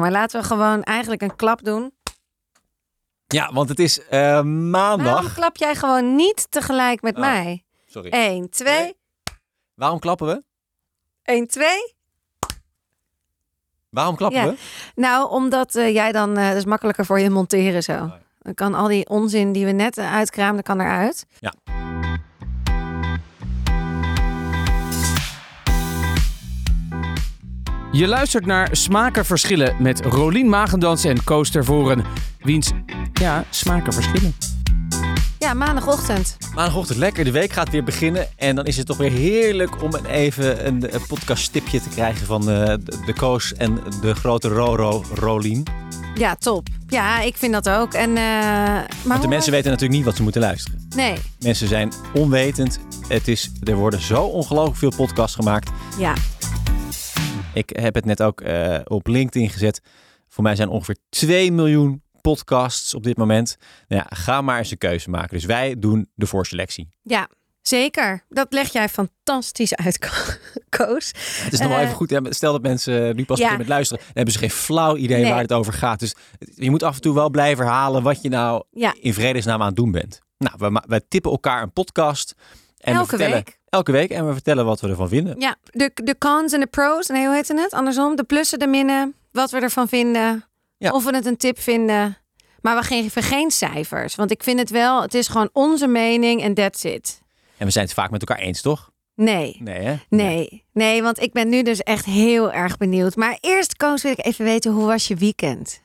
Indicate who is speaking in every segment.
Speaker 1: Maar laten we gewoon eigenlijk een klap doen.
Speaker 2: Ja, want het is eh,
Speaker 1: Waarom
Speaker 2: maandag.
Speaker 1: klap jij gewoon niet tegelijk met
Speaker 2: Oh.
Speaker 1: mij?
Speaker 2: Sorry.
Speaker 1: 1, 2,
Speaker 2: Nee. Waarom klappen we?
Speaker 1: 1, 2.
Speaker 2: Waarom klappen
Speaker 1: Ja.
Speaker 2: we?
Speaker 1: Nou, omdat eh, jij dan, eh dat is makkelijker voor je monteren zo.
Speaker 2: ja.
Speaker 1: Dan kan al die onzin die we net eh, uitkraamden, kan eruit.
Speaker 2: Ja.
Speaker 3: Je luistert naar Smaken Verschillen met Rolien Magendans en Koos Tervoren. Wiens, ja, smaken verschillen.
Speaker 1: Ja, maandagochtend.
Speaker 2: Maandagochtend lekker, de week gaat weer beginnen. En dan is het toch weer heerlijk om een even een eh, podcasttipje te krijgen van eh, de, de Koos en de grote Roro Rolien.
Speaker 1: Ja, top. Ja, ik vind dat ook. En, eh, maar
Speaker 2: Want de
Speaker 1: hoe-
Speaker 2: mensen weten natuurlijk niet wat ze moeten luisteren.
Speaker 1: Nee,
Speaker 2: Mensen zijn onwetend. Het is, er worden zo ongelooflijk veel podcasts gemaakt.
Speaker 1: ja.
Speaker 2: Ik heb het net ook eh, op LinkedIn gezet. Voor mij zijn ongeveer 2 miljoen podcasts op dit moment. Nou ja, ga maar eens een keuze maken. Dus wij doen de voorselectie.
Speaker 1: Ja, zeker. Dat leg jij fantastisch uit, Ko- Koos.
Speaker 2: Het is nog wel
Speaker 1: Eh,
Speaker 2: even goed. hè, Stel dat mensen eh, nu pas
Speaker 1: ja.
Speaker 2: beginnen met luisteren. Dan hebben ze geen flauw idee
Speaker 1: Nee.
Speaker 2: waar het over gaat. Dus het- je moet af en toe wel blijven herhalen wat je nou
Speaker 1: Ja.
Speaker 2: in vredesnaam aan het doen bent. Nou, we, ma- we tippen elkaar een podcast. En we
Speaker 1: Elke
Speaker 2: vertellen,
Speaker 1: week.
Speaker 2: Elke week. En we vertellen wat we ervan vinden.
Speaker 1: Ja, de, de cons en de pros. Nee, hoe heet het? Andersom, de plussen, de minnen. Wat we ervan vinden.
Speaker 2: Ja.
Speaker 1: Of we het een tip vinden. Maar we geven geen cijfers. Want ik vind het wel, het is gewoon onze mening en that's it.
Speaker 2: En we zijn het vaak met elkaar eens, toch?
Speaker 1: Nee.
Speaker 2: Nee, hè?
Speaker 1: Nee, nee, want ik ben nu dus echt heel erg benieuwd. Maar eerst, Koos, wil ik even weten, hoe was je weekend?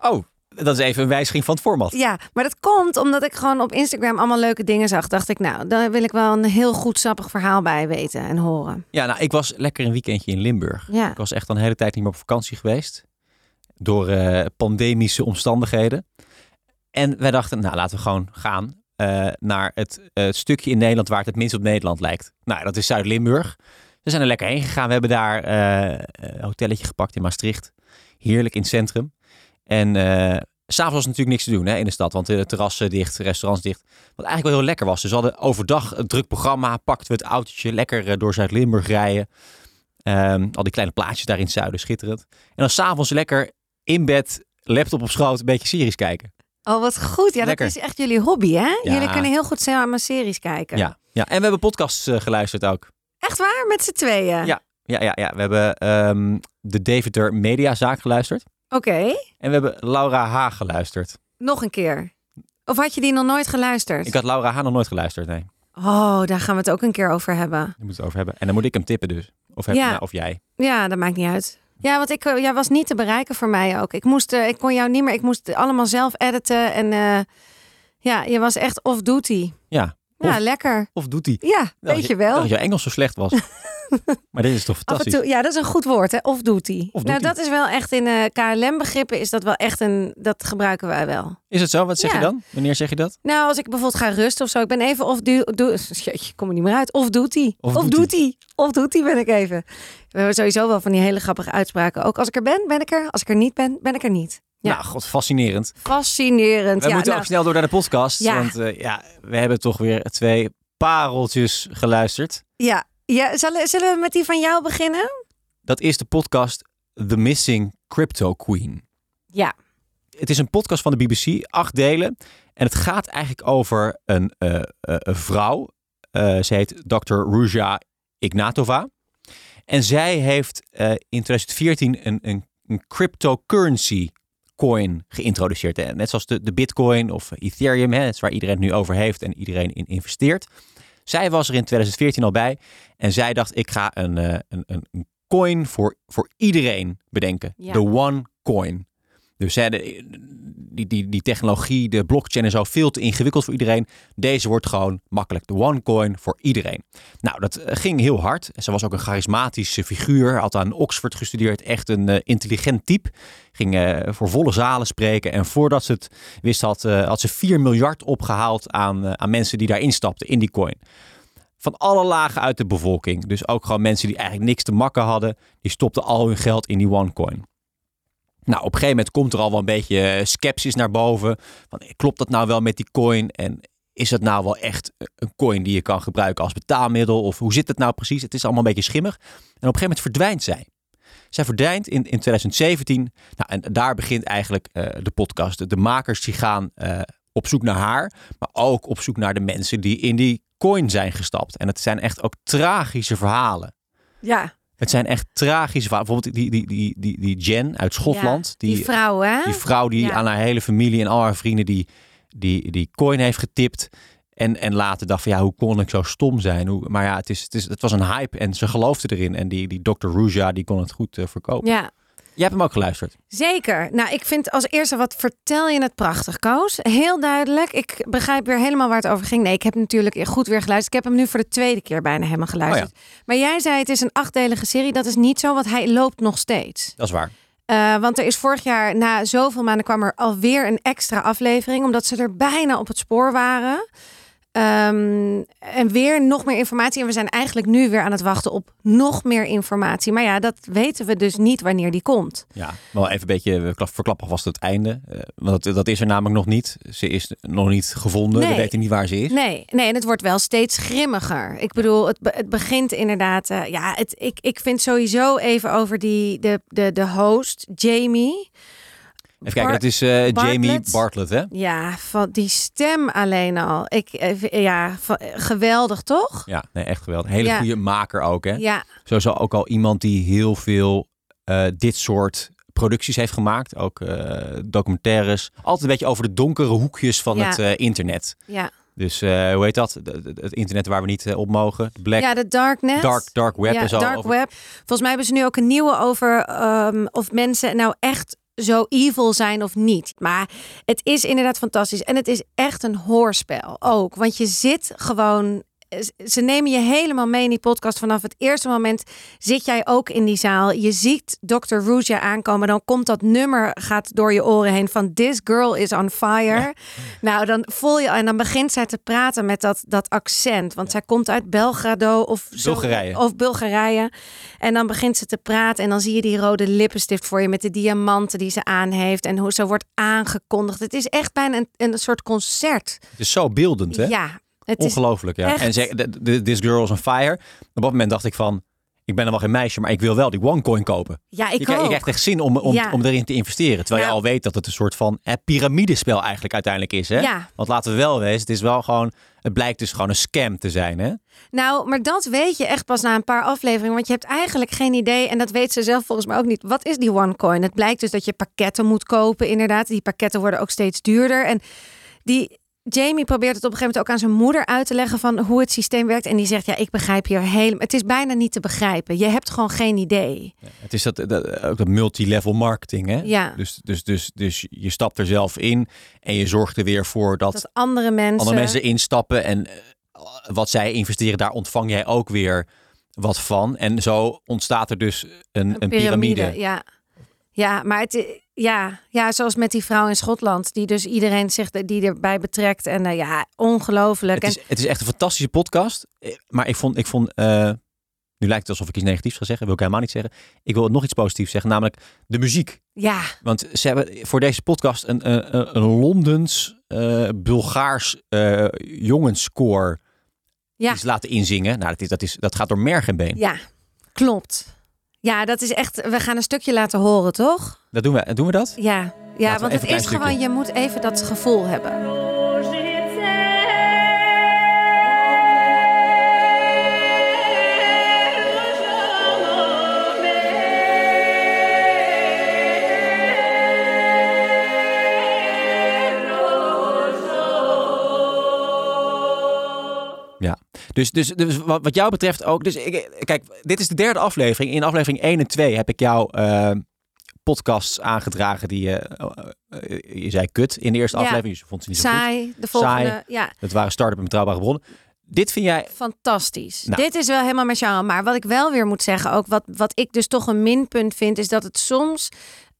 Speaker 2: Oh, dat is even een wijziging van het format.
Speaker 1: Ja, maar dat komt omdat ik gewoon op Instagram allemaal leuke dingen zag. Dacht ik, nou, daar wil ik wel een heel goed sappig verhaal bij weten en horen.
Speaker 2: Ja, nou, ik was lekker een weekendje in Limburg.
Speaker 1: Ja,
Speaker 2: Ik was echt al een hele tijd niet meer op vakantie geweest. Door eh, pandemische omstandigheden. En wij dachten, nou laten we gewoon gaan eh, naar het eh, stukje in Nederland waar het het minst op Nederland lijkt. Nou, dat is Zuid-Limburg. We zijn er lekker heen gegaan. We hebben daar eh, een hotelletje gepakt in Maastricht. Heerlijk in het centrum. En eh, s s'avonds was natuurlijk niks te doen hè, in de stad. Want de terrassen dicht, restaurants dicht. Wat eigenlijk wel heel lekker was. Dus we hadden overdag een druk programma. Pakten we het autootje lekker eh, door Zuid-Limburg rijden. Ehm, al die kleine plaatjes daar in het zuiden, schitterend. En dan s'avonds lekker in bed, laptop op schoot, een beetje series kijken.
Speaker 1: oh wat goed. Ja,
Speaker 2: Lekker.
Speaker 1: dat is echt jullie hobby, hè?
Speaker 2: Ja.
Speaker 1: Jullie kunnen heel goed samen series kijken.
Speaker 2: Ja, ja. en we hebben podcasts eh, geluisterd ook.
Speaker 1: Echt waar? Met z'n tweeën?
Speaker 2: Ja. Ja, ja, ja. we hebben ehm, de Deventer Mediazaak geluisterd.
Speaker 1: Oké,
Speaker 2: En we hebben Laura H. geluisterd.
Speaker 1: nog een keer. Of had je die nog nooit geluisterd?
Speaker 2: Ik had Laura H. nog nooit geluisterd, nee.
Speaker 1: Oh, daar gaan we het ook een keer over hebben.
Speaker 2: Daar moeten we het over hebben. En dan moet ik hem tippen dus. Of, heb,
Speaker 1: Ja.
Speaker 2: nou, of jij.
Speaker 1: Ja, dat maakt niet uit. Ja, want ik, eh, jij was niet te bereiken voor mij ook. Ik, moest, eh, ik kon jou niet meer, ik moest allemaal zelf editen. En eh, ja, je was echt off-duty.
Speaker 2: Ja.
Speaker 1: Ja,
Speaker 2: Off-
Speaker 1: lekker.
Speaker 2: Of doet hij?
Speaker 1: Ja,
Speaker 2: Dat
Speaker 1: weet
Speaker 2: je-
Speaker 1: je wel.
Speaker 2: Dat jouw Engels zo slecht was. maar dit is toch
Speaker 1: Af en
Speaker 2: fantastisch.
Speaker 1: toe, ja, dat is een goed woord, hè? Of doet hij?
Speaker 2: Off-duty.
Speaker 1: Nou, dat is wel echt in eh, KLM-begrippen is dat wel echt een. Dat gebruiken wij wel.
Speaker 2: Is het zo? Wat zeg
Speaker 1: Ja.
Speaker 2: je dan? Wanneer zeg je dat?
Speaker 1: Nou, als ik bijvoorbeeld ga rusten of zo, ik ben even of doe, jeetje, kom er niet meer uit. Of doet hij?
Speaker 2: Of
Speaker 1: Of
Speaker 2: duty.
Speaker 1: doet hij? Of doet hij? Ben ik even. We hebben sowieso wel van die hele grappige uitspraken. Ook als ik er ben, ben ik er. Als ik er niet ben, ben ik er niet. Ja.
Speaker 2: Nou, god, fascinerend.
Speaker 1: Fascinerend.
Speaker 2: We
Speaker 1: ja,
Speaker 2: moeten
Speaker 1: nou,
Speaker 2: ook snel door naar de podcast.
Speaker 1: Ja.
Speaker 2: Want eh, ja, we hebben toch weer twee pareltjes geluisterd.
Speaker 1: ja, ja zullen, zullen we met die van jou beginnen?
Speaker 2: Dat is de podcast The Missing Crypto Queen.
Speaker 1: Ja.
Speaker 2: Het is een podcast van de BBC, acht delen. En het gaat eigenlijk over een, eh, eh, een vrouw. Eh, ze heet Dr. Ruja Ignatova. En zij heeft eh, in 2014 een, een, een cryptocurrency coin geïntroduceerd. Eh, Net zoals de, de Bitcoin of Ethereum, hè, dat is waar iedereen het nu over heeft en iedereen in investeert. Zij was er in 2014 al bij en zij dacht: ik ga een, eh, een, een, een coin voor, voor iedereen bedenken.
Speaker 1: Ja.
Speaker 2: De one coin. Dus hè, de- die, die, die technologie, de blockchain en zo, veel te ingewikkeld voor iedereen. Deze wordt gewoon makkelijk de one coin voor iedereen. Nou, dat eh, ging heel hard. Ze was ook een charismatische figuur. Had aan Oxford gestudeerd. Echt een eh, intelligent type. Ging eh, voor volle zalen spreken. En voordat ze het wist, had, eh, had ze 4 miljard opgehaald aan, eh, aan mensen die daar instapten in die coin. Van alle lagen uit de bevolking. Dus ook gewoon mensen die eigenlijk niks te makken hadden. Die stopten al hun geld in die OneCoin. Nou, op een gegeven moment komt er al wel een beetje eh, sceptisch naar boven. Van, eh, klopt dat nou wel met die coin? En is dat nou wel echt een coin die je kan gebruiken als betaalmiddel? Of hoe zit het nou precies? Het is allemaal een beetje schimmig. En op een gegeven moment verdwijnt zij. Zij verdwijnt in, in 2017. Nou, en daar begint eigenlijk eh, de podcast. De- De makers die gaan eh, op zoek naar haar, maar ook op zoek naar de mensen die in die coin zijn gestapt. En het zijn echt ook tragische verhalen.
Speaker 1: Ja,
Speaker 2: Het zijn echt tragische verhalen. Bijvoorbeeld die, die, die, die, die Jen uit Schotland.
Speaker 1: ja. Die, vrouw, hè?
Speaker 2: Die vrouw die
Speaker 1: Ja.
Speaker 2: aan haar hele familie en al haar vrienden die, die, die coin heeft getipt. En, en later dacht van ja, hoe kon ik zo stom zijn? Hoe, maar ja, het, is, het, is, het was een hype en ze geloofde erin. En die, die Dr. Ruja die kon het goed eh, verkopen.
Speaker 1: ja.
Speaker 2: Jij hebt hem ook geluisterd.
Speaker 1: Zeker. Nou, ik vind als eerste wat vertel je het prachtig, Koos. Heel duidelijk. Ik begrijp weer helemaal waar het over ging. Nee, ik heb natuurlijk goed weer geluisterd. Ik heb hem nu voor de tweede keer bijna helemaal geluisterd. Maar jij zei het is een achtdelige serie. Dat is niet zo, want hij loopt nog steeds.
Speaker 2: Dat is waar.
Speaker 1: Eh, want er is vorig jaar, na zoveel maanden, kwam er alweer een extra aflevering. Omdat ze er bijna op het spoor waren. Ehm, en weer nog meer informatie. En we zijn eigenlijk nu weer aan het wachten op nog meer informatie. Maar ja, dat weten we dus niet wanneer die komt.
Speaker 2: Ja, wel even een beetje eh, klap- verklappen vast het einde. Eh, want dat, dat is er namelijk nog niet. Ze is nog niet gevonden. We
Speaker 1: Nee.
Speaker 2: weten niet waar ze is.
Speaker 1: Nee, nee, en het wordt wel steeds grimmiger. Ik bedoel, het, be- het begint inderdaad. eh, ja, het, ik, ik vind sowieso even over die, de, de, de host, Jamie.
Speaker 2: Even kijken,
Speaker 1: Bar-
Speaker 2: dat is eh, Jamie
Speaker 1: Bartlett.
Speaker 2: Bartlett, hè?
Speaker 1: Ja, van die stem alleen al. Ik, eh, ja, van- eh, geweldig toch?
Speaker 2: Ja, nee, echt geweldig. Hele
Speaker 1: Ja.
Speaker 2: goede maker ook, hè?
Speaker 1: Ja,
Speaker 2: Sowieso ook al iemand die heel veel eh, dit soort producties heeft gemaakt. Ook eh, documentaires. Altijd een beetje over de donkere hoekjes van
Speaker 1: Ja.
Speaker 2: het eh, internet.
Speaker 1: ja.
Speaker 2: Dus eh, hoe heet dat? De- de- het internet waar we niet eh, op mogen. De Black,
Speaker 1: ja de darknet.
Speaker 2: dark, dark web
Speaker 1: ja,
Speaker 2: en zo.
Speaker 1: dark
Speaker 2: Over-
Speaker 1: web. Volgens mij hebben ze nu ook een nieuwe over ehm, of mensen nou echt zo evil zijn of niet. Maar het is inderdaad fantastisch. En het is echt een hoorspel ook. Want je zit gewoon... Ze nemen je helemaal mee in die podcast. Vanaf het eerste moment zit jij ook in die zaal. Je ziet Dr. Ruja aankomen. Dan komt dat nummer, gaat door je oren heen van This Girl is on Fire. Nou, dan voel je en dan begint zij te praten met dat, dat accent. Want zij komt uit Belgrado of zo-
Speaker 2: Bulgarije.
Speaker 1: Of Bulgarije. En dan begint ze te praten en dan zie je die rode lippenstift voor je met de diamanten die ze aan heeft. En hoe ze wordt aangekondigd. Het is echt bijna een, een soort concert.
Speaker 2: Het is zo beeldend, hè?
Speaker 1: Ja, het is
Speaker 2: Ongelooflijk, ja.
Speaker 1: echt-
Speaker 2: En ze, de- de- This Girl is on Fire. Op dat moment dacht ik van... Ik ben dan wel geen meisje, maar ik wil wel die OneCoin kopen.
Speaker 1: Ja,
Speaker 2: je,
Speaker 1: ik
Speaker 2: krijgt- je
Speaker 1: ook.
Speaker 2: krijgt echt zin om, om,
Speaker 1: Ja.
Speaker 2: om erin te investeren. Terwijl je
Speaker 1: Nou.
Speaker 2: al weet dat het een soort van eh, piramidespel eigenlijk uiteindelijk is. Hè?
Speaker 1: Ja.
Speaker 2: Want laten we wel wezen, het is wel gewoon... Het blijkt dus gewoon een scam te zijn, hè?
Speaker 1: Nou, maar dat weet je echt pas na een paar afleveringen. Want je hebt eigenlijk geen idee. En dat weet ze zelf volgens mij ook niet. Wat is die OneCoin? Het blijkt dus dat je pakketten moet kopen, inderdaad. Die pakketten worden ook steeds duurder. En die. Jamie probeert het op een gegeven moment ook aan zijn moeder uit te leggen van hoe het systeem werkt. En die zegt: Ja, ik begrijp hier helemaal. Het is bijna niet te begrijpen. Je hebt gewoon geen idee.
Speaker 2: Het is dat, dat, ook dat multilevel marketing, hè?
Speaker 1: Ja.
Speaker 2: Dus, dus, dus, dus je stapt er zelf in en je zorgt er weer voor dat,
Speaker 1: Dat andere mensen.
Speaker 2: andere mensen instappen. En eh, wat zij investeren, daar ontvang jij ook weer wat van. En zo ontstaat er dus een, een, piramide.
Speaker 1: Ja. Ja, maar het, i- ja, ja, zoals met die vrouw in Schotland, die dus iedereen zich er- die erbij betrekt. En eh, ja, ongelooflijk.
Speaker 2: Het
Speaker 1: En-
Speaker 2: is, het is echt een fantastische podcast. Eh, Maar ik vond, ik vond eh, nu lijkt het alsof ik iets negatiefs ga zeggen. Wil ik helemaal niet zeggen. Ik wil nog iets positiefs zeggen, namelijk de muziek.
Speaker 1: ja,
Speaker 2: Want ze hebben voor deze podcast een, een, een- een Londens, eh, Bulgaars eh jongenskoor
Speaker 1: Ja.
Speaker 2: iets laten inzingen. Nou, dat, is, dat, is, dat gaat door merg en been.
Speaker 1: ja, klopt. Ja, dat is echt. We gaan een stukje laten horen, toch?
Speaker 2: Dat doen, we, doen we dat?
Speaker 1: Ja, ja
Speaker 2: we
Speaker 1: want het
Speaker 2: even een klein
Speaker 1: is gewoon,
Speaker 2: stukje.
Speaker 1: je moet even dat gevoel hebben.
Speaker 2: Ja. Dus, dus, dus wat, wat jou betreft ook. Dus ik, kijk, dit is de derde aflevering. In aflevering 1 en 2 heb ik jou eh, podcasts aangedragen die je. eh, eh, je zei kut in de eerste
Speaker 1: Ja.
Speaker 2: aflevering. Dus je vond ze niet zo goed.
Speaker 1: Saai, de volgende.
Speaker 2: Saai.
Speaker 1: Ja,
Speaker 2: Dat waren start-up en betrouwbare bronnen. Dit vind jij.
Speaker 1: fantastisch.
Speaker 2: Nou.
Speaker 1: Dit is wel helemaal mijn genre. Maar wat ik wel weer moet zeggen, ook wat, wat ik dus toch een minpunt vind, is dat het soms.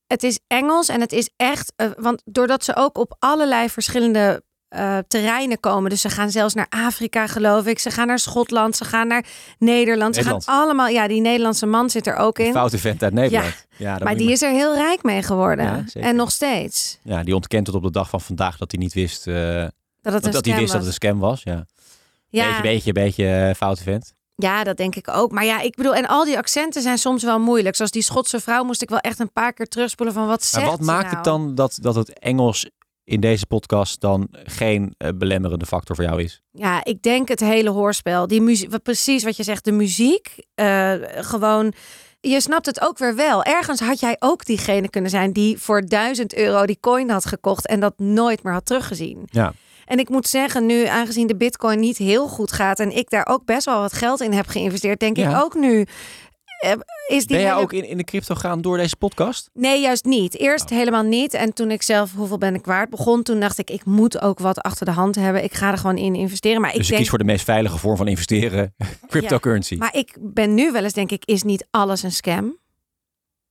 Speaker 1: Het is Engels en het is echt. eh, want doordat ze ook op allerlei verschillende eh, terreinen komen. Dus ze gaan zelfs naar Afrika, geloof ik. Ze gaan naar Schotland, ze gaan naar Nederland.
Speaker 2: Nederland.
Speaker 1: Ze gaan allemaal. Ja, die Nederlandse man zit er ook
Speaker 2: een
Speaker 1: in.
Speaker 2: Foute vent uit Nederland. Ja, dat
Speaker 1: Maar
Speaker 2: moet
Speaker 1: die
Speaker 2: je
Speaker 1: is er heel rijk mee geworden.
Speaker 2: Ja, zeker.
Speaker 1: en nog steeds.
Speaker 2: maar- ja, die ontkent tot op de dag van vandaag dat hij niet wist. eh,
Speaker 1: Dat het een
Speaker 2: dat hij
Speaker 1: scam
Speaker 2: wist
Speaker 1: was.
Speaker 2: dat het een scam was. Ja.
Speaker 1: ja,
Speaker 2: Beetje, beetje, beetje eh, foute vent.
Speaker 1: Ja, dat denk ik ook. Maar ja, ik bedoel, en al die accenten zijn soms wel moeilijk. Zoals die Schotse vrouw moest ik wel echt een paar keer terugspoelen van wat zegt
Speaker 2: Maar wat
Speaker 1: ze
Speaker 2: maakt
Speaker 1: nou?
Speaker 2: het dan dat, dat het Engels in deze podcast dan geen eh, belemmerende factor voor jou is?
Speaker 1: Ja, ik denk het hele hoorspel. Die muziek, wat- precies wat je zegt, de muziek. eh, gewoon, je snapt het ook weer wel. Ergens had jij ook diegene kunnen zijn die voor 1000 euro die coin had gekocht en dat nooit meer had teruggezien.
Speaker 2: Ja.
Speaker 1: En ik moet zeggen, nu aangezien de bitcoin niet heel goed gaat en ik daar ook best wel wat geld in heb geïnvesteerd, denk
Speaker 2: Ja.
Speaker 1: ik ook nu. eh, Is die
Speaker 2: Ben jij
Speaker 1: hele-
Speaker 2: ook in, in de crypto gaan door deze podcast?
Speaker 1: Nee, juist niet. Eerst
Speaker 2: Oh.
Speaker 1: helemaal niet. En toen ik zelf hoeveel ben ik waard begon, toen dacht ik, ik moet ook wat achter de hand hebben. Ik ga er gewoon in investeren. Maar ik
Speaker 2: dus je
Speaker 1: denk,
Speaker 2: kiest voor de meest veilige vorm van investeren, cryptocurrency.
Speaker 1: maar ik ben nu wel eens, denk ik, is niet alles een scam?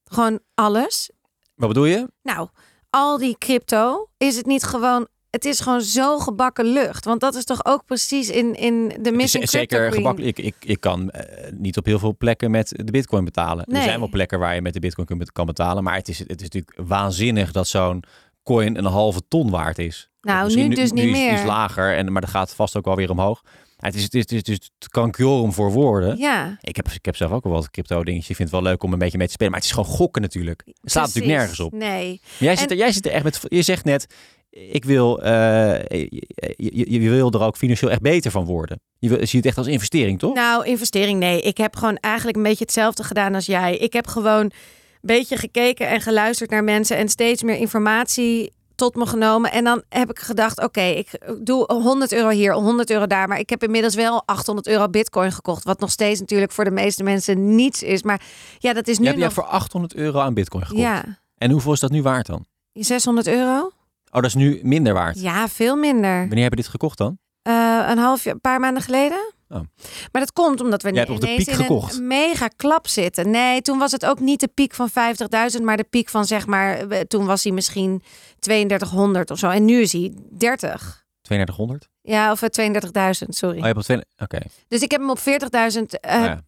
Speaker 1: Gewoon alles?
Speaker 2: Wat bedoel je?
Speaker 1: Nou, al die crypto, is het niet gewoon... Het is gewoon zo gebakken lucht. Want dat is toch ook precies in, in de
Speaker 2: Het is
Speaker 1: missing
Speaker 2: z-
Speaker 1: crypto
Speaker 2: zeker
Speaker 1: queen.
Speaker 2: gemakkelijk. Ik, ik, ik kan eh, niet op heel veel plekken met de bitcoin betalen.
Speaker 1: Nee.
Speaker 2: Er zijn wel plekken waar je met de bitcoin kunt- kan betalen. Maar het is, het is natuurlijk waanzinnig dat zo'n coin een halve ton waard is.
Speaker 1: Nou, nu
Speaker 2: Of
Speaker 1: dus niet
Speaker 2: is, het iets
Speaker 1: meer.
Speaker 2: lager, en, maar dat gaat vast ook wel weer omhoog. En het is het, is, het, is, het, is het kankjorum voor woorden.
Speaker 1: Ja,
Speaker 2: Ik, heb, ik heb zelf ook wel wat crypto dingetjes. Ik vind het wel leuk om een beetje mee te spelen. Maar het is gewoon gokken natuurlijk. Het staat natuurlijk
Speaker 1: precies.
Speaker 2: nergens op.
Speaker 1: Nee.
Speaker 2: Maar Jij zit, er, jij zit er echt met. Je zegt net. Ik wil, eh, je, je, je wil er ook financieel echt beter van worden. Je wil, je ziet het echt als investering, toch?
Speaker 1: Nou, investering nee. Ik heb gewoon eigenlijk een beetje hetzelfde gedaan als jij. Ik heb gewoon een beetje gekeken en geluisterd naar mensen en steeds meer informatie tot me genomen. En dan heb ik gedacht, oké, ik doe 100 euro hier, 100 euro daar. Maar ik heb inmiddels wel 800 euro bitcoin gekocht. Wat nog steeds natuurlijk voor de meeste mensen niets is. Maar ja, dat is nu
Speaker 2: je hebt je
Speaker 1: nog...
Speaker 2: hebt voor 800 euro aan bitcoin gekocht.
Speaker 1: ja,
Speaker 2: En hoeveel is dat nu waard dan?
Speaker 1: 600 euro?
Speaker 2: Oh, dat is nu minder waard.
Speaker 1: Ja, veel minder.
Speaker 2: Wanneer heb je dit gekocht dan?
Speaker 1: Eh, een half jaar, een paar maanden geleden.
Speaker 2: Oh.
Speaker 1: Maar dat komt omdat we
Speaker 2: Jij hebt op de
Speaker 1: ineens
Speaker 2: piek
Speaker 1: in
Speaker 2: gekocht.
Speaker 1: een mega klap zitten. Nee, toen was het ook niet de piek van 50.000, maar de piek van zeg maar, eh, toen was hij misschien 3200 of zo. En nu is hij 30.
Speaker 2: 3200?
Speaker 1: Ja, of eh, 32.000, sorry.
Speaker 2: Oh, je hebt op 2... Oké.
Speaker 1: Dus ik heb hem op 40.000, eh,
Speaker 2: Nou ja,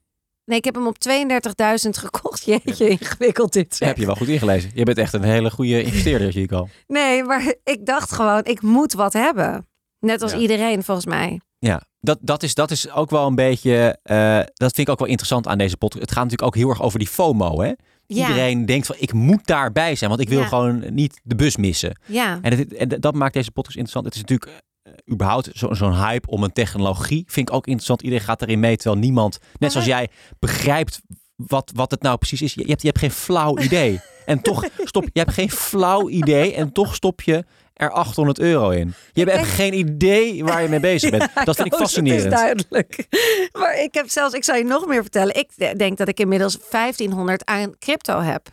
Speaker 1: nee, ik heb hem op 32.000 gekocht. Jeetje, ingewikkeld dit. zeg.
Speaker 2: heb je wel goed ingelezen. Je bent echt een hele goede investeerder, zie ik al.
Speaker 1: Nee, maar ik dacht gewoon, ik moet wat hebben. Net als
Speaker 2: Ja.
Speaker 1: iedereen, volgens mij.
Speaker 2: Ja, dat, dat, is, dat is ook wel een beetje... eh, dat vind ik ook wel interessant aan deze podcast. Het gaat natuurlijk ook heel erg over die FOMO, hè?
Speaker 1: Ja,
Speaker 2: Iedereen denkt van, ik moet daarbij zijn, want ik wil
Speaker 1: Ja.
Speaker 2: gewoon niet de bus missen.
Speaker 1: ja.
Speaker 2: En, het- en dat maakt deze podcast interessant. Het is natuurlijk eh, überhaupt zo- zo'n hype om een technologie. Vind ik ook interessant. Iedereen gaat erin mee, terwijl niemand, net zoals jij, begrijpt wat, wat het nou precies is. Je, je hebt, je hebt geen flauw idee. En toch stop je hebt geen flauw idee en toch stop je er 800 euro in. Je hebt geen idee waar je mee bezig bent. dat vind ik
Speaker 1: Koos, het
Speaker 2: fascinerend.
Speaker 1: Oh, is duidelijk. Maar ik heb zelfs, ik zal je nog meer vertellen. Ik de- denk dat ik inmiddels 1500 aan crypto heb.
Speaker 2: Hè?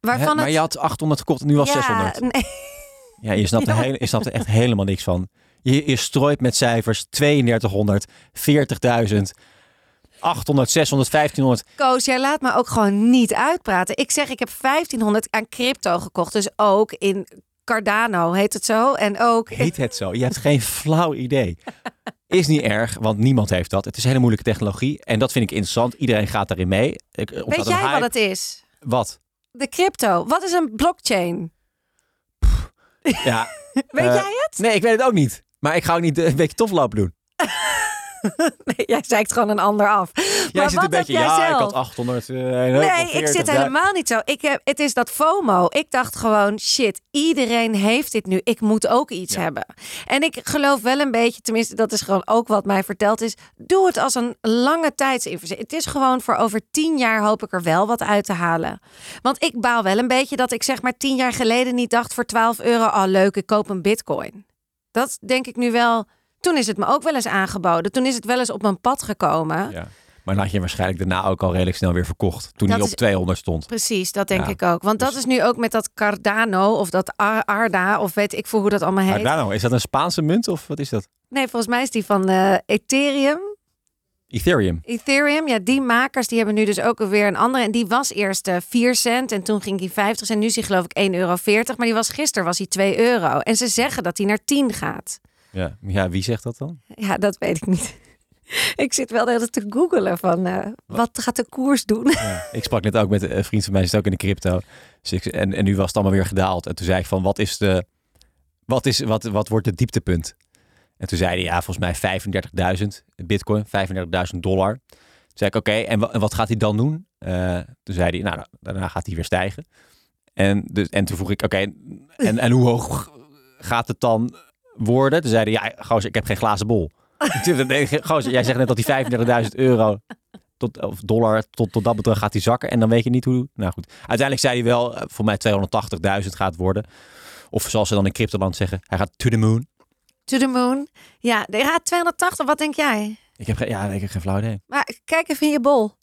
Speaker 1: Waarvan
Speaker 2: Maar
Speaker 1: het...
Speaker 2: je had 800 gekocht en nu was
Speaker 1: ja,
Speaker 2: 600.
Speaker 1: nee,
Speaker 2: Ja, je snapt, er heel- je snapt er echt helemaal niks van. Je, je strooit met cijfers 3200, 40.000, 800, 600, 1500.
Speaker 1: Koos, jij laat me ook gewoon niet uitpraten. Ik zeg, ik heb 1500 aan crypto gekocht. Dus ook in Cardano, heet het zo. En ook...
Speaker 2: Heet het zo? Je hebt geen flauw idee. Is niet erg, want niemand heeft dat. Het is een hele moeilijke technologie en dat vind ik interessant. Iedereen gaat daarin mee. Ik, eh,
Speaker 1: Weet
Speaker 2: ontstaat een
Speaker 1: jij wat
Speaker 2: hype.
Speaker 1: het is?
Speaker 2: Wat?
Speaker 1: De crypto. Wat is een blockchain?
Speaker 2: Ja.
Speaker 1: Weet
Speaker 2: Eh,
Speaker 1: jij het?
Speaker 2: Nee, ik weet het ook niet. Maar ik ga ook niet eh, een beetje toflopen doen.
Speaker 1: Nee, jij zeikt gewoon een ander af.
Speaker 2: Jij
Speaker 1: maar
Speaker 2: zit
Speaker 1: wat
Speaker 2: een beetje,
Speaker 1: heb jij
Speaker 2: ja,
Speaker 1: zelf?
Speaker 2: ik had 800. eh,
Speaker 1: Nee, ik
Speaker 2: 40.000.
Speaker 1: zit helemaal niet zo. Ik heb, het is dat FOMO. Ik dacht gewoon, shit, iedereen heeft dit nu. Ik moet ook iets
Speaker 2: Ja.
Speaker 1: hebben. En ik geloof wel een beetje, tenminste, dat is gewoon ook wat mij verteld is. Doe het als een lange tijdsinvestering. Het is gewoon voor over tien jaar hoop ik er wel wat uit te halen. Want ik baal wel een beetje dat ik zeg maar tien jaar geleden niet dacht voor 12 euro, oh leuk, ik koop een bitcoin. Dat denk ik nu wel. Toen is het me ook wel eens aangeboden. Toen is het wel eens op mijn pad gekomen.
Speaker 2: Ja. Maar dan had je waarschijnlijk daarna ook al redelijk snel weer verkocht. Toen
Speaker 1: Dat
Speaker 2: hij op
Speaker 1: is-
Speaker 2: 200 stond.
Speaker 1: Precies, dat denk
Speaker 2: Ja,
Speaker 1: ik ook. Want dat
Speaker 2: dus-
Speaker 1: is nu ook met dat Cardano of dat Ar- Arda of weet ik veel hoe dat allemaal heet.
Speaker 2: Cardano, is dat een Spaanse munt of wat is dat?
Speaker 1: Nee, volgens mij is die van eh, Ethereum.
Speaker 2: Ethereum.
Speaker 1: Ethereum, ja, die makers die hebben nu dus ook weer een andere. En die was eerst eh 4 cent en toen ging die 50 cent. Nu is die geloof ik 1,40 euro. Maar die was gisteren was die 2 euro. En ze zeggen dat die naar 10 gaat.
Speaker 2: Ja. ja, wie zegt dat dan?
Speaker 1: Ja, dat weet ik niet. Ik zit wel de hele tijd te googelen van eh, wat gaat de koers doen?
Speaker 2: Ik sprak net ook met eh, een vriend van mij, die zit ook in de crypto. Dus ik- en, en nu was het allemaal weer gedaald. En toen zei ik van, wat is de... Wat, is, wat, wat wordt het dieptepunt? En toen zei hij, ja, volgens mij 35.000 bitcoin, 35.000 dollar. Toen zei ik, oké, en, wa- en wat gaat hij dan doen? Eh, toen zei hij, nou, daarna gaat hij weer stijgen. En, dus, en toen vroeg ik, oké, en, en hoe hoog gaat het dan worden? Toen zei hij, ja, gozer, ik heb geen glazen bol. Toen dacht ik, gozer, jij zegt net dat die 35.000 euro tot, of dollar tot, tot dat bedrag gaat hij zakken. En dan weet je niet hoe... Nou goed, uiteindelijk zei hij wel, eh, voor mij 280.000 gaat worden. Of zoals ze dan in cryptoland zeggen, hij gaat to the moon.
Speaker 1: To the moon. Ja, er gaat 280. Wat denk jij?
Speaker 2: Ik heb, geen- ja, ik heb geen flauw idee.
Speaker 1: Maar kijk even in je bol.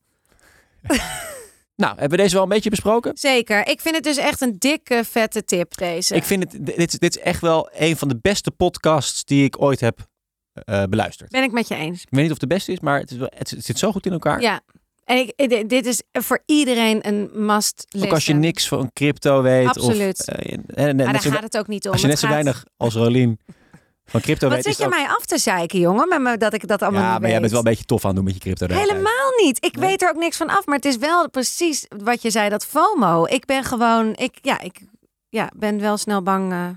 Speaker 2: Nou, hebben we deze wel een beetje besproken?
Speaker 1: Zeker. Ik vind het dus echt een dikke, vette tip deze.
Speaker 2: Ik vind het, dit, is- dit is echt wel een van de beste podcasts die ik ooit heb eh, beluisterd.
Speaker 1: Ben ik met je eens.
Speaker 2: Ik weet niet of het de beste is, maar het, is wel, het, zit zo goed in elkaar.
Speaker 1: Ja. En ik, eh, dit- dit is voor iedereen een must listen.
Speaker 2: Ook als je niks van crypto weet.
Speaker 1: Absoluut.
Speaker 2: Of, eh, en- en- net
Speaker 1: Maar daar
Speaker 2: zo-
Speaker 1: gaat het ook niet om.
Speaker 2: als je net
Speaker 1: Het
Speaker 2: zo
Speaker 1: gaat-
Speaker 2: weinig als Rolien van crypto
Speaker 1: Wat
Speaker 2: weet.
Speaker 1: zit
Speaker 2: is
Speaker 1: je
Speaker 2: het ook-
Speaker 1: mij af te zeiken, jongen? Met me, dat ik dat allemaal
Speaker 2: Ja, maar
Speaker 1: niet
Speaker 2: jij
Speaker 1: weet.
Speaker 2: bent wel een beetje tof aan het doen met je crypto. de hele tijd.
Speaker 1: Helemaal niet. Ik weet er ook niks van af. Maar het is wel precies wat je zei, dat FOMO. Ik ben gewoon... Ik, ja, ik ja, ben wel snel bang eh,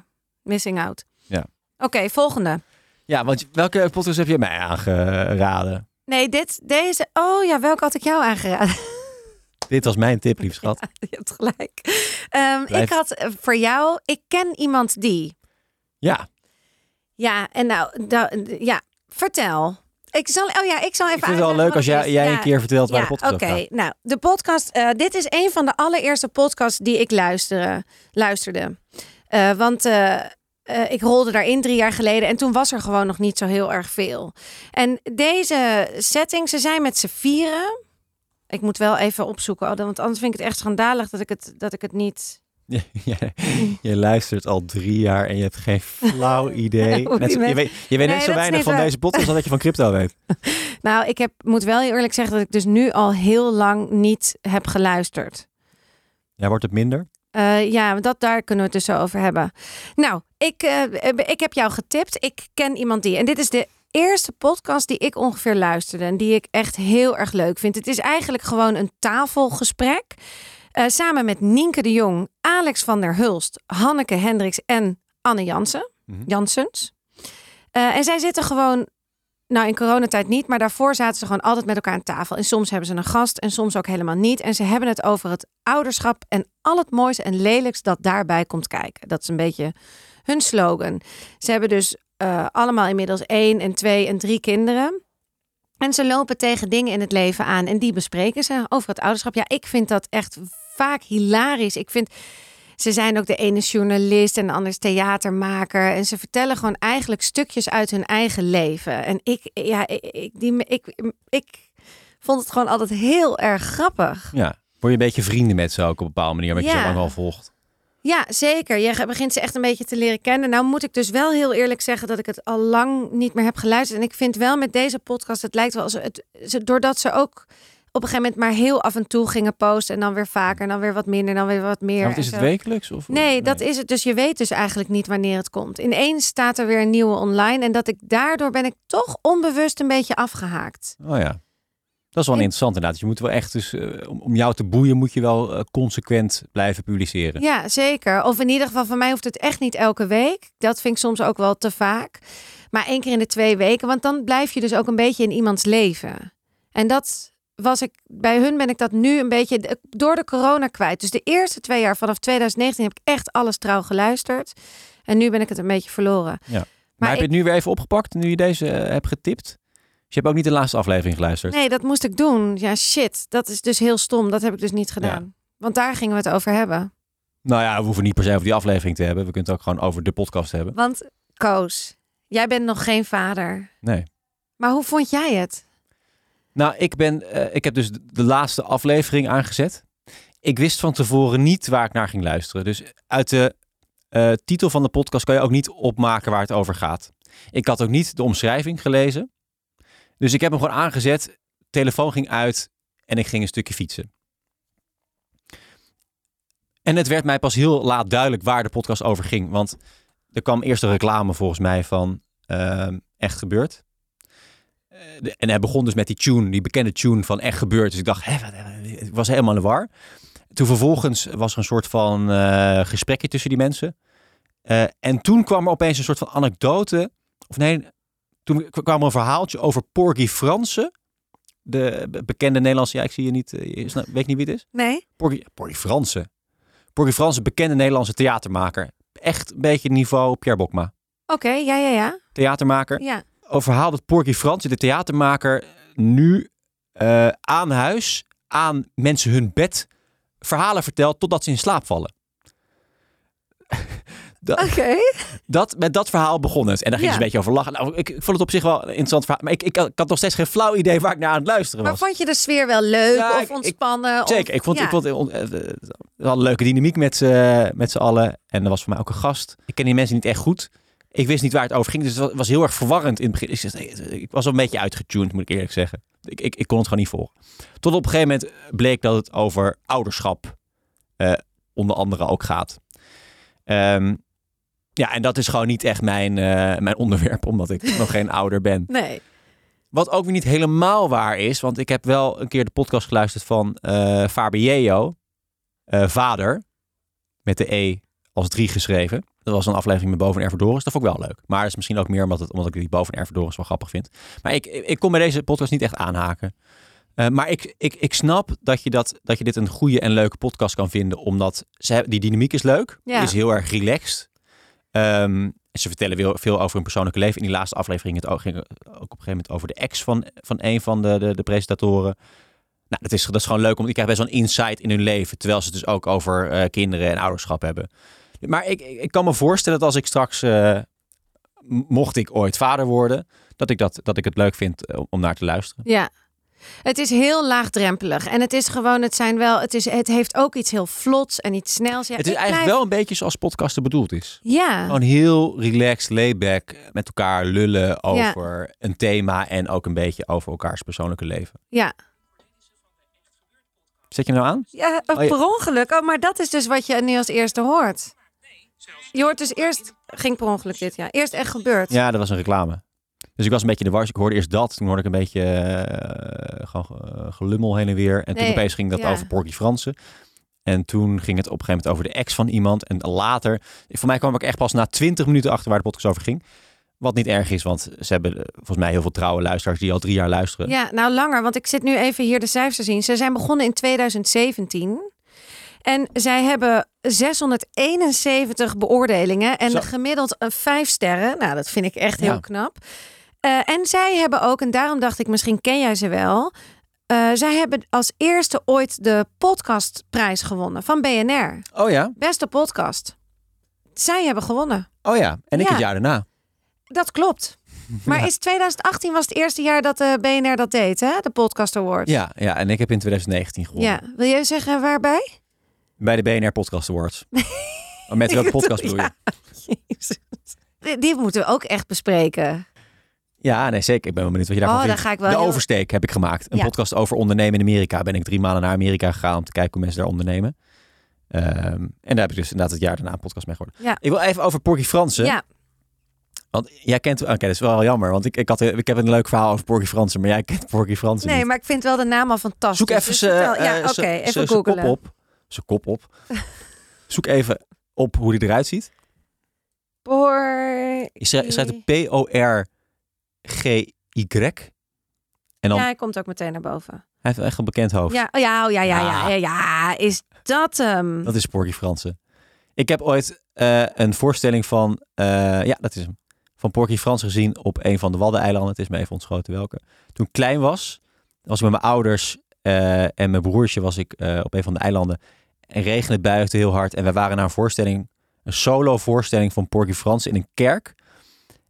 Speaker 1: missing out.
Speaker 2: Ja.
Speaker 1: Oké, volgende.
Speaker 2: Ja, want welke podcast heb je mij aangeraden?
Speaker 1: Nee, dit, deze... Oh ja, welke had ik jou aangeraden?
Speaker 2: Dit was mijn tip, lief schat.
Speaker 1: Je hebt gelijk. Ehm,
Speaker 2: Blijf-
Speaker 1: Ik had eh, voor jou, ik ken iemand die.
Speaker 2: Ja,
Speaker 1: Ja, en nou, da- ja, vertel. Ik zal, oh ja, ik zal even.
Speaker 2: ik vind het wel
Speaker 1: uitleggen
Speaker 2: leuk als
Speaker 1: wat
Speaker 2: jij,
Speaker 1: is.
Speaker 2: jij
Speaker 1: Ja,
Speaker 2: een keer vertelt waar
Speaker 1: Ja,
Speaker 2: de
Speaker 1: oké.
Speaker 2: podcast over gaat.
Speaker 1: Nou, de podcast. eh, dit is een van de allereerste podcasts die ik luisteren, luisterde. Eh, want eh, eh, ik rolde daarin drie jaar geleden en toen was er gewoon nog niet zo heel erg veel. En deze setting, ze zijn met z'n vieren. Ik moet wel even opzoeken, oh, want anders vind ik het echt schandalig dat ik het, dat ik het niet
Speaker 2: Ja, jij- je luistert al drie jaar en je hebt geen flauw idee.
Speaker 1: Hoe
Speaker 2: Net zo-
Speaker 1: die
Speaker 2: je weet, je
Speaker 1: Nee,
Speaker 2: weet net
Speaker 1: dat
Speaker 2: zo
Speaker 1: is
Speaker 2: weinig
Speaker 1: niet
Speaker 2: van
Speaker 1: waar.
Speaker 2: deze podcast als dat je van crypto weet.
Speaker 1: Nou, ik heb, moet wel heel eerlijk zeggen dat ik dus nu al heel lang niet heb geluisterd.
Speaker 2: Ja, wordt het minder?
Speaker 1: Eh, ja, want dat, daar kunnen we het dus zo over hebben. Nou, ik, eh, ik heb jou getipt. Ik ken iemand die. En dit is de eerste podcast die ik ongeveer luisterde. En die ik echt heel erg leuk vind. Het is eigenlijk gewoon een tafelgesprek. eh, samen met Nienke de Jong, Alex van der Hulst, Hanneke Hendricks en Anne Jansen.
Speaker 2: Mhm.
Speaker 1: Jansens. Eh, en zij zitten gewoon nou, in coronatijd niet, maar daarvoor zaten ze gewoon altijd met elkaar aan tafel. En soms hebben ze een gast en soms ook helemaal niet. En ze hebben het over het ouderschap en al het moois en lelijks dat daarbij komt kijken. Dat is een beetje hun slogan. Ze hebben dus eh, allemaal inmiddels één en twee en drie kinderen. En ze lopen tegen dingen in het leven aan en die bespreken ze over het ouderschap. Ja, ik vind dat echt vaak hilarisch. Ik vind, ze zijn ook de ene journalist en de ander is theatermaker. En ze vertellen gewoon eigenlijk stukjes uit hun eigen leven. En ik, ja, ik, ik- die, ik, ik vond het gewoon altijd heel erg grappig.
Speaker 2: Ja. Word je een beetje vrienden met ze ook op een bepaalde manier, omdat je
Speaker 1: Ja.
Speaker 2: ze lang al volgt.
Speaker 1: Ja, zeker. Je ge- begint ze echt een beetje te leren kennen. Nou moet ik dus wel heel eerlijk zeggen dat ik het al lang niet meer heb geluisterd. En ik vind wel met deze podcast, het lijkt wel als het, ze- doordat ze ook op een gegeven moment maar heel af en toe gingen posten. En dan weer vaker, en dan weer wat minder, en dan weer wat meer.
Speaker 2: Ja, want
Speaker 1: en
Speaker 2: Nou, is het
Speaker 1: zo.
Speaker 2: wekelijks? Of,
Speaker 1: Nee, dat is het. Dus je weet dus eigenlijk niet wanneer het komt. Ineens staat er weer een nieuwe online. En dat ik daardoor ben ik toch onbewust een beetje afgehaakt.
Speaker 2: Oh ja. Dat is wel
Speaker 1: Ik-
Speaker 2: interessant inderdaad. Je moet wel echt, dus, eh, om, om jou te boeien moet je wel eh, consequent blijven publiceren.
Speaker 1: Ja, zeker. Of in ieder geval, van mij hoeft het echt niet elke week. Dat vind ik soms ook wel te vaak. Maar één keer in de twee weken. Want dan blijf je dus ook een beetje in iemands leven. En dat was ik, bij hun ben ik dat nu een beetje de- door de corona kwijt. Dus de eerste twee jaar vanaf 2019 heb ik echt alles trouw geluisterd. En nu ben ik het een beetje verloren.
Speaker 2: maar
Speaker 1: maar
Speaker 2: heb je
Speaker 1: ik-
Speaker 2: het nu weer even opgepakt, nu je deze eh, hebt getipt? Dus je hebt ook niet de laatste aflevering geluisterd?
Speaker 1: Nee, dat moest ik doen. Ja, shit. Dat is dus heel stom. Dat heb ik dus niet gedaan. Want daar gingen we het over hebben.
Speaker 2: Nou ja, we hoeven niet per se over die aflevering te hebben. We kunnen het ook gewoon over de podcast hebben.
Speaker 1: Want Koos, jij bent nog geen vader.
Speaker 2: Nee.
Speaker 1: Maar hoe vond jij het?
Speaker 2: Nou, ik, ben, eh, ik heb dus de- de laatste aflevering aangezet. Ik wist van tevoren niet waar ik naar ging luisteren. Dus uit de eh, titel van de podcast kan je ook niet opmaken waar het over gaat. Ik had ook niet de omschrijving gelezen. Dus ik heb hem gewoon aangezet. Telefoon ging uit en ik ging een stukje fietsen. En het werd mij pas heel laat duidelijk waar de podcast over ging. Want er kwam eerst een reclame volgens mij van ehm, Echt Gebeurd. Eh, de- en hij begon dus met die tune, die bekende tune van Echt Gebeurd. Dus ik dacht, hè, wat, eh, ik was helemaal in de war. Toen vervolgens was er een soort van eh, gesprekje tussen die mensen. Eh, en toen kwam er opeens een soort van anekdote. Of nee, Toen k- kwam er een verhaaltje over Porgy Fransen. De be- bekende Nederlandse, ja, ik zie je niet, eh, je snap- weet niet wie het is.
Speaker 1: Nee?
Speaker 2: Porgy, Porgy Fransen. Porgy Fransen, bekende Nederlandse theatermaker. Echt een beetje niveau Pierre Bokma.
Speaker 1: Oké, ja, ja, ja.
Speaker 2: Theatermaker.
Speaker 1: Ja,
Speaker 2: Een verhaal dat Porgy Fransen, de theatermaker, nu eh, aan huis, aan mensen hun bed, verhalen vertelt totdat ze in slaap vallen. Dat,
Speaker 1: oké.
Speaker 2: dat, met dat verhaal begon het. En daar ging
Speaker 1: Ja.
Speaker 2: ze een beetje over lachen. Nou, ik, ik vond het op zich wel een interessant verhaal. Maar ik, ik, had- ik had nog steeds geen flauw idee waar ik naar aan het luisteren
Speaker 1: Maar
Speaker 2: was.
Speaker 1: vond je de sfeer wel leuk
Speaker 2: Ja, ik-
Speaker 1: of
Speaker 2: ik-
Speaker 1: ontspannen? of-
Speaker 2: Zeker, ik vond,
Speaker 1: ja.
Speaker 2: ik vond eh, on- eh, eh, we hadden een leuke dynamiek met, z'n- met z'n allen. En er was voor mij ook een gast. Ik ken die mensen niet echt goed. Ik wist niet waar het over ging, dus het was, was heel erg verwarrend in het begin. Ik, zeg, nee, het- ik was al een beetje uitgetuned, moet ik eerlijk zeggen. Ik, ik, ik kon het gewoon niet volgen. Tot op een gegeven moment bleek dat het over ouderschap eh, onder andere ook gaat. Ehm, ja, en dat is gewoon niet echt mijn, eh, mijn onderwerp, omdat ik nog geen ouder ben.
Speaker 1: Nee.
Speaker 2: Wat ook weer niet helemaal waar is, want ik heb wel een keer de podcast geluisterd van eh Fabieo, eh, vader, met de E als drie geschreven. Dat was een aflevering met Boven Erverdoris. Dat vond ik wel leuk. Maar dat is misschien ook meer omdat, het, omdat ik die Boven Erverdoris wel grappig vind. Maar ik, ik ik kon bij deze podcast niet echt aanhaken. Eh, maar ik, ik, ik snap dat je, dat, dat je dit een goede en leuke podcast kan vinden. Omdat ze, hebben- die dynamiek is leuk.
Speaker 1: Ja.
Speaker 2: Die is heel erg relaxed. Ehm, en ze vertellen veel, veel over hun persoonlijke leven. In die laatste aflevering het ook, ging het ook op een gegeven moment over de ex van, van een van de, de, de presentatoren. Nou, dat is, dat is gewoon leuk, want ik krijg best wel een insight in hun leven. Terwijl ze het dus ook over eh, kinderen en ouderschap hebben. Maar ik, ik ik kan me voorstellen dat als ik straks, eh, m- mocht ik ooit vader worden, dat ik, dat, dat ik het leuk vind eh, om naar te luisteren.
Speaker 1: Ja. Het is heel laagdrempelig. En het is gewoon, het zijn wel, het, is, het heeft ook iets heel vlots en iets snels. Ja,
Speaker 2: het is
Speaker 1: ik
Speaker 2: eigenlijk Oh.
Speaker 1: blijf-
Speaker 2: wel een beetje zoals podcasten bedoeld is.
Speaker 1: Ja.
Speaker 2: Gewoon heel relaxed, layback, met elkaar lullen over een thema en ook een beetje over elkaars persoonlijke leven.
Speaker 1: Ja.
Speaker 2: Zet je hem nou aan?
Speaker 1: Ja, eh,
Speaker 2: Oh, ja.
Speaker 1: per ongeluk. Oh, maar dat is dus wat je nu als eerste hoort. Je hoort dus eerst, ging per ongeluk dit, ja. Eerst echt gebeurd.
Speaker 2: Ja, dat was een reclame. Dus ik was een beetje in de wars. Ik hoorde eerst dat. Toen hoorde ik een beetje eh, gewoon eh, gelummel heen en weer. En
Speaker 1: Nee,
Speaker 2: toen opeens ging dat
Speaker 1: ja.
Speaker 2: over Porky Fransen. En toen ging het op een gegeven moment over de ex van iemand. En later, voor mij kwam ik echt pas na 20 minuten achter waar de podcast over ging. Wat niet erg is, want ze hebben eh, volgens mij heel veel trouwe luisteraars die al drie jaar luisteren.
Speaker 1: Ja, nou langer, want ik zit nu even hier de cijfers te zien. Ze zijn begonnen in 2017. En zij hebben 671 beoordelingen en
Speaker 2: Zo.
Speaker 1: gemiddeld een vijf sterren. Nou, dat vind ik echt
Speaker 2: Ja.
Speaker 1: heel knap. Eh, en zij hebben ook, en daarom dacht ik, misschien ken jij ze wel. eh, zij hebben als eerste ooit de podcastprijs gewonnen van BNR.
Speaker 2: Oh ja,
Speaker 1: Beste podcast. Zij hebben gewonnen.
Speaker 2: oh ja. En ik
Speaker 1: Ja.
Speaker 2: het jaar daarna.
Speaker 1: Dat klopt. Maar is 2018 was het eerste jaar dat eh, de BNR dat deed, hè? De Podcast Award.
Speaker 2: Ja, ja, en ik heb in 2019 gewonnen.
Speaker 1: Ja, wil jij zeggen waarbij?
Speaker 2: Bij de BNR Podcast Awards. Oh, Met welke podcast bedoel je? Ja.
Speaker 1: Die, die moeten we ook echt bespreken.
Speaker 2: nee, zeker. Ik ben wel benieuwd wat je daarvan
Speaker 1: Oh, daar
Speaker 2: vindt.
Speaker 1: ga ik wel
Speaker 2: de
Speaker 1: heel-
Speaker 2: Oversteek heb ik gemaakt. Een
Speaker 1: Ja.
Speaker 2: podcast over ondernemen in Amerika. Ben ik drie maanden naar Amerika gegaan om te kijken hoe mensen daar ondernemen. Ehm, en daar heb ik dus inderdaad het jaar daarna een podcast mee geworden.
Speaker 1: Ja.
Speaker 2: Ik wil even over Porky Fransen.
Speaker 1: Ja,
Speaker 2: Want jij kent... Oké, dat is wel jammer. Want ik, ik, had, ik heb een leuk verhaal over Porky Fransen. Maar jij kent Porky Fransen
Speaker 1: nee,
Speaker 2: niet.
Speaker 1: maar ik vind wel de naam al fantastisch.
Speaker 2: Zoek even
Speaker 1: Dus
Speaker 2: ze,
Speaker 1: vertel-
Speaker 2: eh,
Speaker 1: Ja,
Speaker 2: ze-
Speaker 1: oké,
Speaker 2: ze-
Speaker 1: even
Speaker 2: ze kop
Speaker 1: googelen.
Speaker 2: op. Zijn kop op. Zoek even op hoe die eruit ziet.
Speaker 1: Por...
Speaker 2: Je schrij- schrijft het P-O-R-G-Y. En dan,
Speaker 1: Ja,
Speaker 2: hij
Speaker 1: hij komt ook meteen naar boven.
Speaker 2: heeft wel echt een bekend hoofd.
Speaker 1: Ja, oh, ja, oh, ja, ja, ja,
Speaker 2: Ja.
Speaker 1: ja, ja. Is dat hem?
Speaker 2: Dat is Porky Fransen. Ik heb ooit eh, een voorstelling van, eh, ja, dat is hem. Van Porky Frans gezien op een van de Waddeneilanden. Het is me even ontschoten welke. Toen ik klein was, was ik met mijn ouders eh, en mijn broertje was ik eh, op een van de eilanden. En regende buiten heel hard. En we waren naar een voorstelling, een solo voorstelling van Porky Frans in een kerk.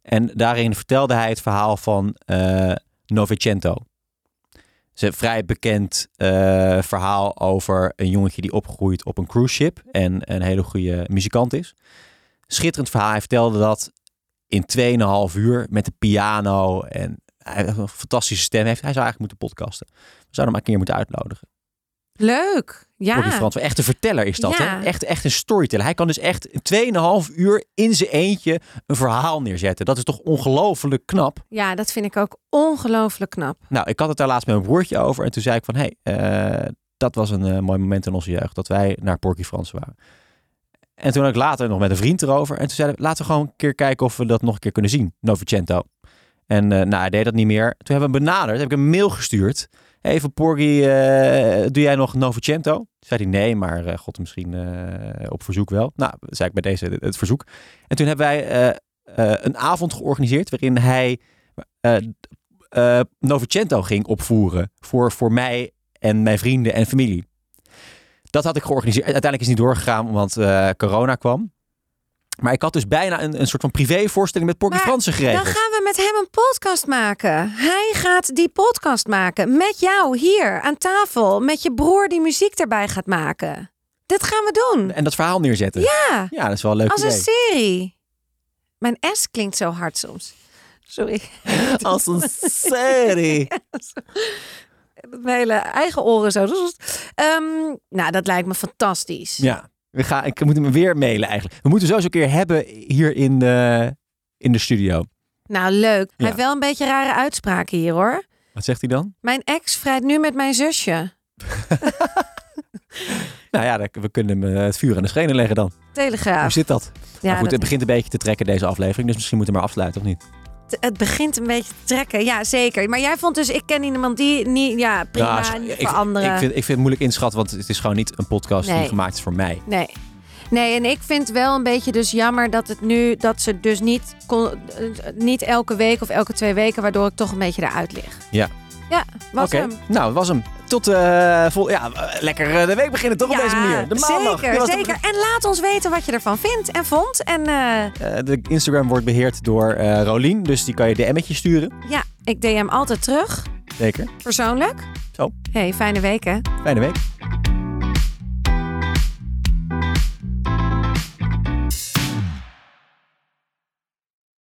Speaker 2: En daarin vertelde hij het verhaal van eh Novecento. Het is een vrij bekend eh, verhaal over een jongetje die opgroeit op een cruise ship en een hele goede muzikant is. Schitterend verhaal. Hij vertelde dat in 2,5 uur met de piano en hij heeft een fantastische stem. Hij heeft- Hij zou eigenlijk moeten podcasten. We zouden hem maar een keer moeten uitnodigen.
Speaker 1: Leuk.
Speaker 2: Ja. Frans,
Speaker 1: Ja.
Speaker 2: want echt een verteller is dat.
Speaker 1: Ja.
Speaker 2: Hè? Echt, echt een storyteller. Hij kan dus echt in 2,5 uur in zijn eentje een verhaal neerzetten. Dat is toch ongelooflijk knap.
Speaker 1: ja, dat vind ik ook ongelooflijk knap.
Speaker 2: Nou, ik had het daar laatst met mijn broertje over. En toen zei ik van, hé, hey, eh, dat was een eh, mooi moment in onze jeugd. Dat wij naar Porky Frans waren. En toen had ik later nog met een vriend erover. En toen zeiden we, laten we gewoon een keer kijken of we dat nog een keer kunnen zien. Novecento. En eh, nou, hij deed dat niet meer. Toen hebben we hem benaderd, heb ik een mail gestuurd. Even Porgy, eh, doe jij nog Novecento? Toen zei hij nee, maar eh, god, misschien eh, op verzoek wel. Nou, zei ik bij deze het, het verzoek. En toen hebben wij eh, eh, een avond georganiseerd waarin hij eh eh, Novecento ging opvoeren voor, voor mij en mijn vrienden en familie. Dat had ik georganiseerd. Uiteindelijk is het niet doorgegaan, want eh, corona kwam. Maar ik had dus bijna een, een soort van privévoorstelling met Porky
Speaker 1: Maar
Speaker 2: Fransen geregeld.
Speaker 1: Dan gaan we met hem een podcast maken. Hij gaat die podcast maken met jou hier aan tafel. Met je broer die muziek erbij gaat maken. Dit gaan we doen.
Speaker 2: En dat verhaal neerzetten.
Speaker 1: Ja,
Speaker 2: Ja, dat is wel een leuk
Speaker 1: als een
Speaker 2: idee.
Speaker 1: serie. Mijn S klinkt zo hard soms. Sorry.
Speaker 2: Als een serie.
Speaker 1: Mijn hele eigen oren zo. Ehm, nou, dat lijkt me fantastisch.
Speaker 2: Ja, we gaan, ik moet hem weer mailen eigenlijk. We moeten hem sowieso een keer hebben hier in de, in de studio.
Speaker 1: Nou, leuk. Hij
Speaker 2: Ja.
Speaker 1: heeft wel een beetje rare uitspraken hier hoor.
Speaker 2: Wat zegt hij dan?
Speaker 1: Mijn ex vrijt nu met mijn zusje.
Speaker 2: Nou ja, dan- we kunnen hem eh, het vuur aan de schenen leggen dan. Hoe
Speaker 1: Telegraaf.
Speaker 2: zit dat?
Speaker 1: Ja,
Speaker 2: maar goed,
Speaker 1: dat-
Speaker 2: het begint een beetje te trekken deze aflevering. Dus misschien moeten we maar afsluiten, of niet?
Speaker 1: het, het begint een beetje te trekken. Ja, zeker. Maar jij vond dus, ik ken iemand die niet, ja, prima,
Speaker 2: Nou,
Speaker 1: niet
Speaker 2: ik,
Speaker 1: voor anderen.
Speaker 2: Ik vind, ik vind het moeilijk inschatten, want het is gewoon niet een podcast
Speaker 1: Nee.
Speaker 2: die gemaakt is voor mij.
Speaker 1: Nee. Nee, en ik vind wel een beetje dus jammer dat het nu, dat ze dus niet, kon, eh, niet elke week of elke twee weken, waardoor ik toch een beetje eruit lig.
Speaker 2: Ja.
Speaker 1: Ja, was
Speaker 2: Oké,
Speaker 1: hem.
Speaker 2: nou, dat was hem. Tot eh vol, ja, eh, lekker eh, de week beginnen toch
Speaker 1: ja,
Speaker 2: op deze manier. De maandag. Dit
Speaker 1: Zeker,
Speaker 2: was de-
Speaker 1: zeker. En laat ons weten wat je ervan vindt en vond. En eh,
Speaker 2: Eh, de Instagram wordt beheerd door eh Rolien, dus die kan je DM'tje sturen.
Speaker 1: ja, ik DM altijd terug,
Speaker 2: Zeker.
Speaker 1: persoonlijk.
Speaker 2: Zo.
Speaker 1: hey, fijne week hè.
Speaker 2: Fijne week.